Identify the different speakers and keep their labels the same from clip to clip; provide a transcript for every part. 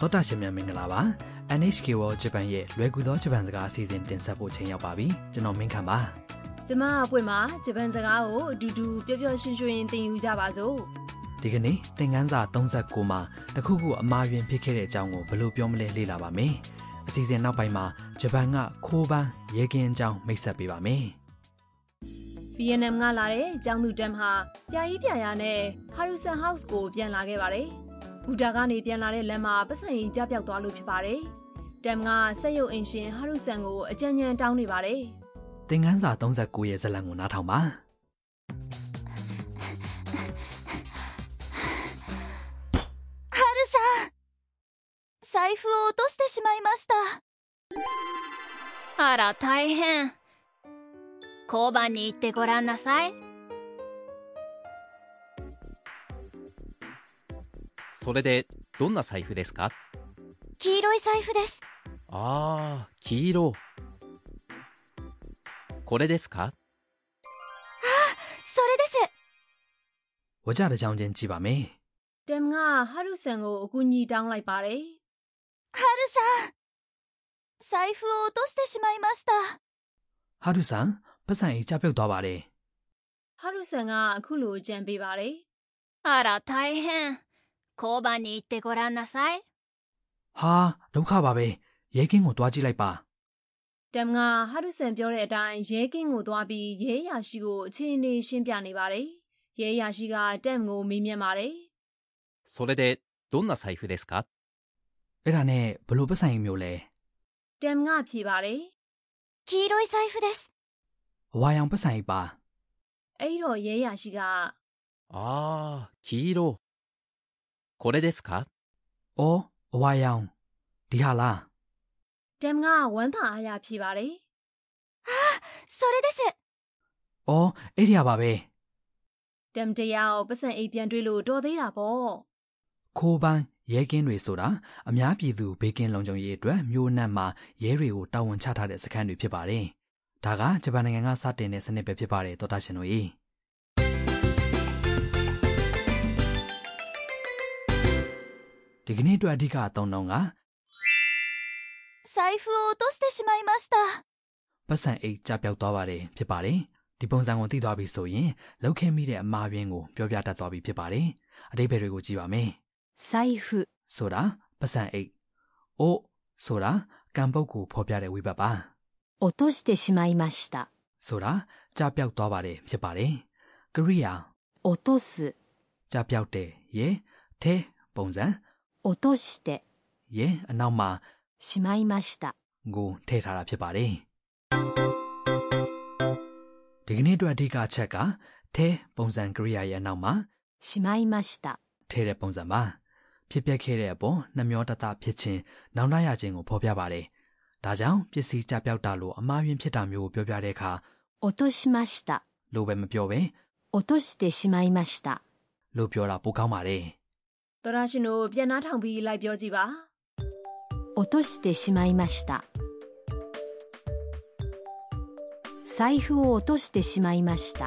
Speaker 1: တောတာရှင်များမင်္ဂလာပါ NHK World Japan ရဲ့လွယ်ကူသောဂျပန်စကားအစီအစဉ်တင်ဆက်ဖို့ချိန်ရောက်ပါပြီကျွန်တော်မင်းခမ်းပါ
Speaker 2: ကျမအပွင့်မှာဂျပန်စကားကိုအတူတူပျော်ပျော်ရွှင်ရွှင်သင်ယူကြပါစို့
Speaker 1: ဒီကနေ့သင်ခန်းစာ39မှာတစ်ခုခုအမှားယွင်းဖြစ်ခဲ့တဲ့အကြောင်းကိုဘယ်လိုပြောမလဲလေ့လာပါမယ်အစီအစဉ်နောက်ပိုင်းမှာဂျပန်ကခိုးပန်းရေကင်းအကြောင်းမိတ်ဆက်ပေးပါမယ်
Speaker 2: ဗီယက်နမ်ကလာတဲ့အကြောင်းသူတမ်ဟာပြာကြီးပြာရာနဲ့ဟာရူဆန်ဟောက်စ်ကိုပြန်လာခဲ့ပါတယ်ဘူတာကနေပြန်လာတဲ့လမ်းမှာပတ်စံရင်ကြပြောက်သွားလို့ဖြစ်ပါတယ်တမ်ကစက်ရုပ်အင်ရှင်ဟာရူဆန်ကိုအကြံဉာဏ်တောင်းနေပါတယ်
Speaker 1: သင်ခန်းစာ39ရဲ့ဇာတ်လမ်းကိုနားထောင်ပါ
Speaker 3: 財布を落としてしまいましたあら大変交番に行ってごらんなさい
Speaker 4: それでどんな財布ですか
Speaker 3: 黄色い財布です
Speaker 4: ああ黄色これですか
Speaker 3: それです
Speaker 1: ဝါကြတစ်ကြောင်ချင်းကြည့်ပါမယ်
Speaker 2: တမ်ကဟာရူဆန်ကိုအကူအညီတောင်းလိုက်ပါတယ်
Speaker 3: ハルさん財布を落としてしまいました
Speaker 1: ဟာရုဆန်ပတ်စံကြီးကြပြုတ်သွားပါတယ်
Speaker 2: ဟာရူဆန်ကအခုလိုအကြံပေးပါတယ်
Speaker 3: あら大変交番に行ってごらんなさい
Speaker 1: ဟာဒုက္ခပါပဲရေကင်းကိုတွားကြည့်လိုက်ပါ
Speaker 2: တမ်ကဟာရုဆန်ပြောတဲ့အတိုင်းရဲကင်းကိုသွားပြီးရဲအရာရှိကိုအခြေအနေရှင်းပြနေပါတယ်။ရဲအရာရှိကတမ်ကိုမေးမြန်းပါတယ်
Speaker 4: それでどんな財布ですか
Speaker 1: အဲ့ဒါနဲ့ဘယ်လိုပတ်စံကြီးမျိုးလဲ
Speaker 2: ။တမ်ကဖြေပါတယ်
Speaker 3: 黄色い財布です
Speaker 1: အဝါရောင်ပတ်စံကြီးပါ
Speaker 2: ။အဲ့ဒီတော့ရဲအရာရှိက
Speaker 4: ああ黄色これですか
Speaker 1: ။အော်အဝါရောင်ဒီဟာလား
Speaker 2: တမ်ကဝမ်းသာအားရဖြေပါတယ်
Speaker 3: それです
Speaker 1: ။အော်အဲ့ဒီဟာပါပဲ
Speaker 2: ။တမ်တရားကိုပတ်စံအိပ်ပြန်တွေးလို့တော်သေးတာပေါ့
Speaker 1: ။ခိုးပန်းရဲကင်းတွေဆိုတာအများပြည်သူဘေးကင်းလုံခြုံရေးအတွက်မြို့အနှံ့မှာရဲတွေကိုတာဝန်ချထားတဲ့စခန်းတွေဖြစ်ပါတယ်။ဒါကဂျပန်နိုင်ငံကစတင်တဲ့စနစ်ပဲဖြစ်ပါတယ်သောတာရှင်တို့ကြီး။ဒီကနေ့အတွက်အဓိကအသုံးနှုန်းက
Speaker 3: 財布を落としてしまいました
Speaker 1: ပတ်စံအိတ်ကြပြောက်သွားပါတယ်ဖြစ်ပါတယ်။ဒီပုံစံကိုသိသွားပြီဆိုရင်လောက်ခဲမိတဲ့အမှားရင်းကိုပြောပြတတ်သွားပြီဖြစ်ပါတယ်။အတိတ်ဘယ်တွေကိုကြည့်ပါမယ်။
Speaker 3: 財布
Speaker 1: ဆိုတာပစံအိတ်။အိုဆိုတာကံပုတ်ကိုဖော်ပြတဲ့ဝိဘတ်ပါ
Speaker 3: 落としてしまいました
Speaker 1: ။ဆိုတာကြာပြောက်သွားပါတယ်ဖြစ်ပါတယ်။ကရိယာ
Speaker 3: 落とす
Speaker 1: ကြာပြောက်တယ်ရေထဲပုံစံ
Speaker 3: 落として
Speaker 1: ရေအနောက်မှာ
Speaker 3: しまいました
Speaker 1: ကိုထည့်ထားတာဖြစ်ပါတယ်။ဒီကနေ့အတွက်အဓိကအချက်ကထဲပုံစံကရိယာရဲ့အနောက်မှာ
Speaker 3: しまいました
Speaker 1: ထည့်တဲ့ပုံစံပါ။ဖြစ်ပျက်ခဲ့တဲ့အပေါ်နှမျောတတဖြစ်ခြင်းနောင်တရခြင်းကိုဖော်ပြပါတယ်။ဒါကြောင့်ပစ္စည်းကြပြောက်တာလို့အမှားယွင်းဖြစ်တာမျိုးကိုပြောပြတဲ့အခါ
Speaker 3: 落としました
Speaker 1: လို့ပဲမပြောပဲ
Speaker 3: 落としてしまいました。
Speaker 1: လို့ပြောတာပိုကောင်းပါတယ်
Speaker 2: ။တော်ရရှင်တို့ပြန်နှားထောင်ပြီးလိုက်ပြောကြည့်ပါ
Speaker 3: 落としてしまいました。財布を落としてしまいました。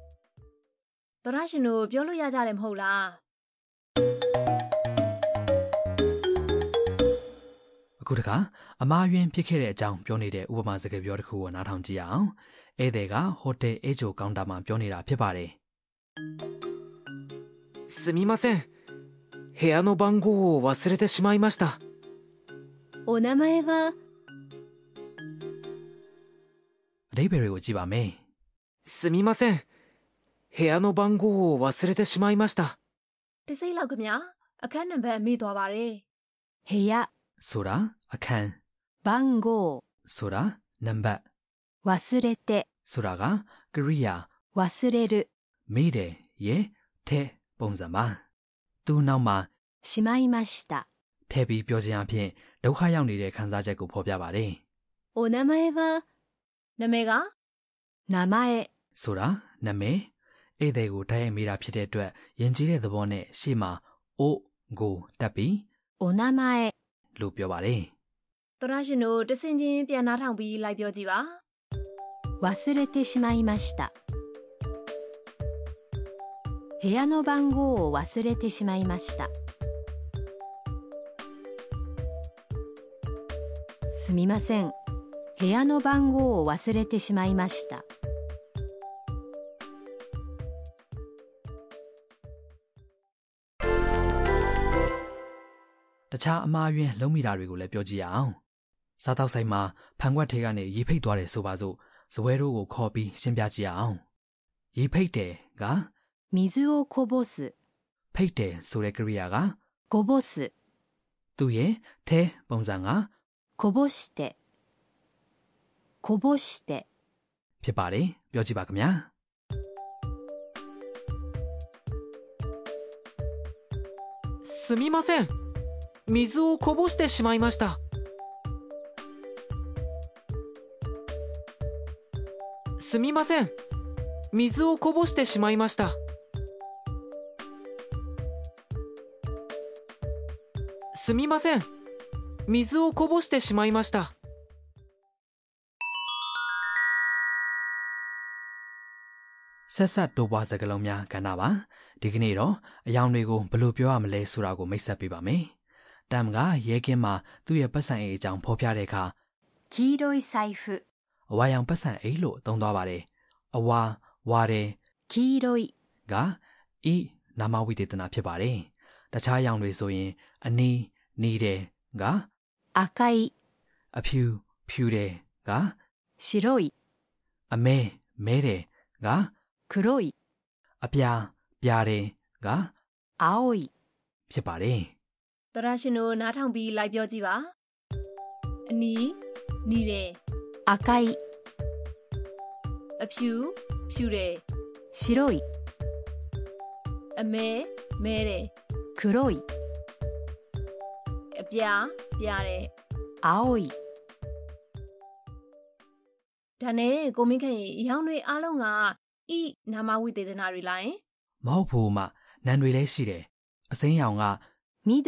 Speaker 2: ။တော်ရရှင်တို့ပြောလို့ရကြတယ်မဟုတ်လား။
Speaker 1: အခုတခါအမားယွင်းဖြစ်ခဲ့တဲ့အကြောင်းပြောနေတဲ့ဥပမာစကားပြောတစ်ခုကိုနားထောင်ကြည့်အောင်ဧည့်သည်ကဟိုတယ်အေဂျိုကောင်တာမှာပြောနေတာဖြစ်ပါတယ်
Speaker 5: すみません部屋の番号を忘れてしまいました
Speaker 3: お名前は
Speaker 1: အတိပ္ပယ်တွေကိုကြည့်ပါမယ်
Speaker 5: すみません部屋の番号を忘れてしまいました
Speaker 2: တစိမ့်လောက်ခင်ဗျာအခန်းနံပါတ်မေ့သွားပါတယ်
Speaker 3: 部屋
Speaker 1: ဆိုတာအခန်း
Speaker 3: 番号
Speaker 1: ဆိုတာနံပါတ်
Speaker 3: 忘れて
Speaker 1: ဆိုတာကကရိယာ
Speaker 3: 忘れる
Speaker 1: မေးတယ်ရေထဲပုံစံပါသူ့နောက်မှာ
Speaker 3: しまいました。
Speaker 1: ထဲပြီးပြောခြင်းအပြင်ဒုက္ခရောက်နေတဲ့ခံစားချက်ကိုဖော်ပြပါတယ်
Speaker 3: お名前は
Speaker 2: နာမည်က
Speaker 3: 名前
Speaker 1: ဆိုတာနာမည်ဧည့်သည်ကိုတိုက်ရိုက်မေးတာဖြစ်တဲ့အတွက်ယဉ်ကျေးတဲ့သဘောနဲ့ရှေ့မှာအိုကိုတက်ပြီး
Speaker 3: お名前
Speaker 1: လို့ပြောပါတယ်
Speaker 2: သောရရှင်တို့တစင်ချင်းပြန်နှားထောင်ပြီးလိုက်ပြောကြည့်ပါ
Speaker 3: 忘れてしまいました。
Speaker 6: 部屋の番号を忘れてしまいましたすみません部屋の番号を忘れてしまいました
Speaker 1: တခြားအမားယွင်းလုံးမိတာတွေကိုလည်းပြောကြည့်ရအောင်စားတောက်ဆိုင်မှာဖန်ခွက်ထဲကနေရေဖိတ်သွားတယ်ဆိုပါစို့ဇပွဲတို့ကိုခေါ်ပြီးရှင်းပြကြည့်ရအောင်ရေဖိတ်တယ်က
Speaker 6: 水をこぼす
Speaker 1: ဖိတ်တယ်ဆိုတဲ့ကရိယာက
Speaker 6: こぼす
Speaker 1: သူ့ရဲ့သဲပုံစံက
Speaker 6: こぼしてこぼして
Speaker 1: ဖြစ်ပါတယ်ပြောကြည့်ပါခင်ဗျာ
Speaker 5: すみません水をこぼしてしまいましたすみません水をこぼしてしまいましたすみません水をこぼしてしまいました
Speaker 1: ဆက်ဆက်တိုးပွားစကားလုံးများကဏ္ဍပါဒီကနေ့တော့အယောင်တွေကိုဘယ်လိုပြောရမလဲဆိုတာကိုမိတ်ဆက်ပေးပါမယ်တမ်ကရဲကင်းမှာသူ့ရဲ့ပတ်စံအိတ်အကြောင်းဖော်ပြတဲ့အခါ
Speaker 6: 黄色い財布
Speaker 1: အဝါရောင်ပတ်စံအိတ်လို့အသုံးသွားပါတယ်။အဝါဝါတယ်
Speaker 6: 黄色い
Speaker 1: ကဤနာမဝိသေသနာဖြစ်ပါတယ်။တခြားရောင်တွေဆိုရင် အနီးနီးတယ်က
Speaker 6: 赤い
Speaker 1: အဖြူဖြူတယ်က
Speaker 6: 白い
Speaker 1: အမဲမဲတယ်က
Speaker 6: 黒い
Speaker 1: အပြာပြာတယ်က
Speaker 6: 青い
Speaker 1: ဖြစ်ပါတယ်
Speaker 2: သရရှင်တို့နားထောင်ပြီးလိုက်ပြောကြည့်ပါအနီးနီးတယ်
Speaker 6: 赤い
Speaker 2: အဖြူဖြူတယ်
Speaker 6: 白い
Speaker 2: အမဲမဲတယ်
Speaker 6: 黒い
Speaker 2: အပြာပြားတယ်
Speaker 6: 青い
Speaker 2: ဒါနဲ့ကိုမင်းခန့်ရဲ့အယောင်တွေအားလုံးကဤနာမဝိသေသနာတွေလာရင်
Speaker 1: ။မဟုတ်ဘူးမှနံတွေလည်းရှိတယ်။အစိမ်းရောင်က
Speaker 6: 緑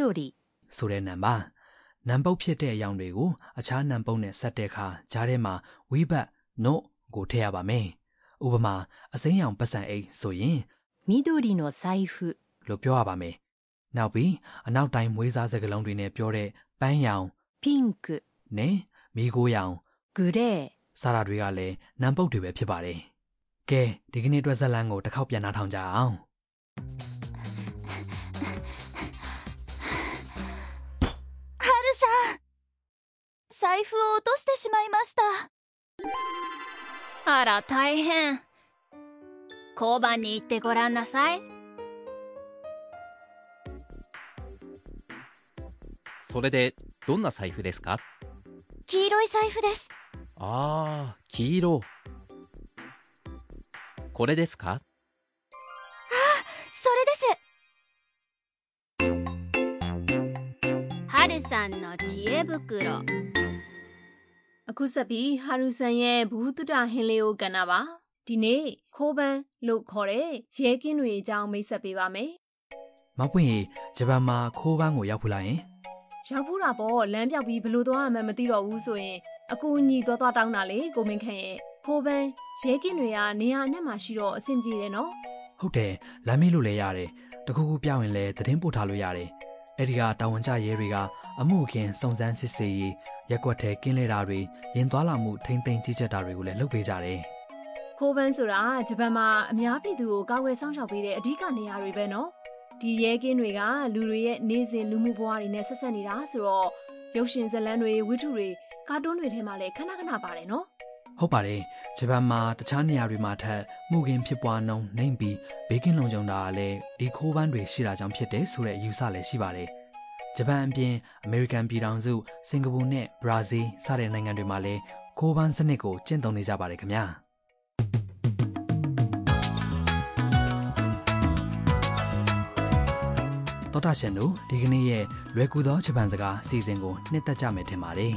Speaker 1: ဆိုတဲ့နံပါ။နံပုတ်ဖြစ်တဲ့အရောင်တွေကိုအခြားနံပုတ်နဲ့ဆက်တဲ့အခါကြားထဲမှာဝိဘတ်နို့ကိုထည့်ရပါမယ်။ဥပမာအစိမ်းရောင်ပတ်စံအိတ်ဆိုရင်
Speaker 6: 緑の財布
Speaker 1: လို့ပြောရပါမယ်။နောက်ပြီးအနောက်တိုင်းမွေးစားစကားလုံးတွေနဲ့ပြောတဲ့ပန်းရောင်
Speaker 6: ピンク
Speaker 1: နဲ့မီးခိုးရောင်
Speaker 6: グレー
Speaker 1: စားတာတွေကလည်းနံပုတ်တွေပဲဖြစ်ပါတယ်။ကဲဒီကနေ့အတွက်ဇာတ်လမ်းကိုတစ်ခေါက်ပြန်နှာထောင်ကြအောင်
Speaker 3: ハルさん財布を落としてしまいました
Speaker 7: あら大変交番に行ってごらんなさい
Speaker 4: それで、どんな財布ですか
Speaker 3: 黄色い財布です
Speaker 4: ああ、黄色。これですか
Speaker 3: それです
Speaker 7: ハルさんの知恵袋
Speaker 2: အခုဆက်ပြီးဟာရူဆန်ရဲ့ဘူတုတဟင်းလေးကိုကဏ္ဍပါဒီနေ့ခိုးပန်းလို့ခေါ်တဲ့ရဲကင်းတွေအကြောင်းမိတ်ဆက်ပေးပါမယ်
Speaker 1: ။မက်ပွင့်ရေဂျပန်မှာခိုးပန်းကိုရောက်ဖူးလာရင်
Speaker 2: ရောက်ဖူးတာပေါ့လမ်းပြောက်ပြီးဘယ်လို့သွားရမှန်းမသိတော့ဘူးဆိုရင်အကူအညီသွားသွားတောင်းတာလေကိုမင်းခန့်ရဲ့ခိုးပန်းရဲကင်းတွေကနေရာအနှံ့မှာရှိတော့အဆင်ပြေတယ်နော်
Speaker 1: ဟုတ်တယ်လမ်းမေးလို့လည်းရတယ်။တခုခုပြရင်လည်းသတင်းပို့ထားလို့ရတယ်။အဲဒီကတာဝန်ကျရဲတွေကအမှုအခင်းစုံစမ်းစစ်ဆေးရေးရက်ကွက်ထဲကင်းလဲတာတွေရင်သွားလာမှုထိမ့်သိမ်းကြီးကြပ်တာတွေကိုလည်းလုပ်ပေးကြတယ်။
Speaker 2: ခိုးပန်းဆိုတာဂျပန်မှာအများပြည်သူကိုကာဝယ်စောင့်ရှောက်ပေးတဲ့အဓိကနေရာတွေပဲနော်ဒီရဲကင်းတွေကလူတွေရဲ့နေစဉ်လူမှုဘဝတွေနဲ့ဆက်ဆက်နေတာဆိုတော့ရုပ်ရှင်ဇာတ်လမ်းတွေဝိထုတွေကာတွန်းတွေထဲမှာလည်းခဏခဏပါတယ်နော်
Speaker 1: ဟုတ်ပါတယ်ဂျပန်မှာတခြားနေရာတွေမှာထက်မှုခင်ဖြစ်ပွားနှုန်းနှိမ့်ပြီးဘေးကင်းလုံခြုံတာကလည်းဒီခိုးပန်းတွေရှိတာကြောင့်ဖြစ်တယ်ဆိုတဲ့အယူဆလည်းရှိပါတယ်ဂျပန်အပြင်အမေရိကန်ပြည်ထောင်စုစင်ကာပူနဲ့ဘရာဇီးစတဲ့နိုင်ငံတွေမှာလည်းခိုးပန်းစနစ်ကိုကျင့်သုံးနေကြပါတယ်ခင်ဗျာတော်တာရှင်တို့ဒီကနေ့ရဲ့လွယ်ကူသောဂျပန်စကားအစီအစဉ်ကိုနှစ်သက်ကြမယ်ထင်ပါတယ်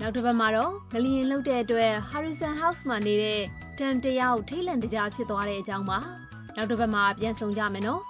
Speaker 2: နောက်တစ်ပတ်မှာတော့ငလျင်လှုပ်တဲ့အတွက် Harrison House မှာနေတဲ့တန်တရားကိုထိတ်လန့်တကြားဖြစ်သွားတဲ့အကြောင်းပါနောက်တစ်ပတ်မှာပြန်ဆောင်ကြမယ်နော်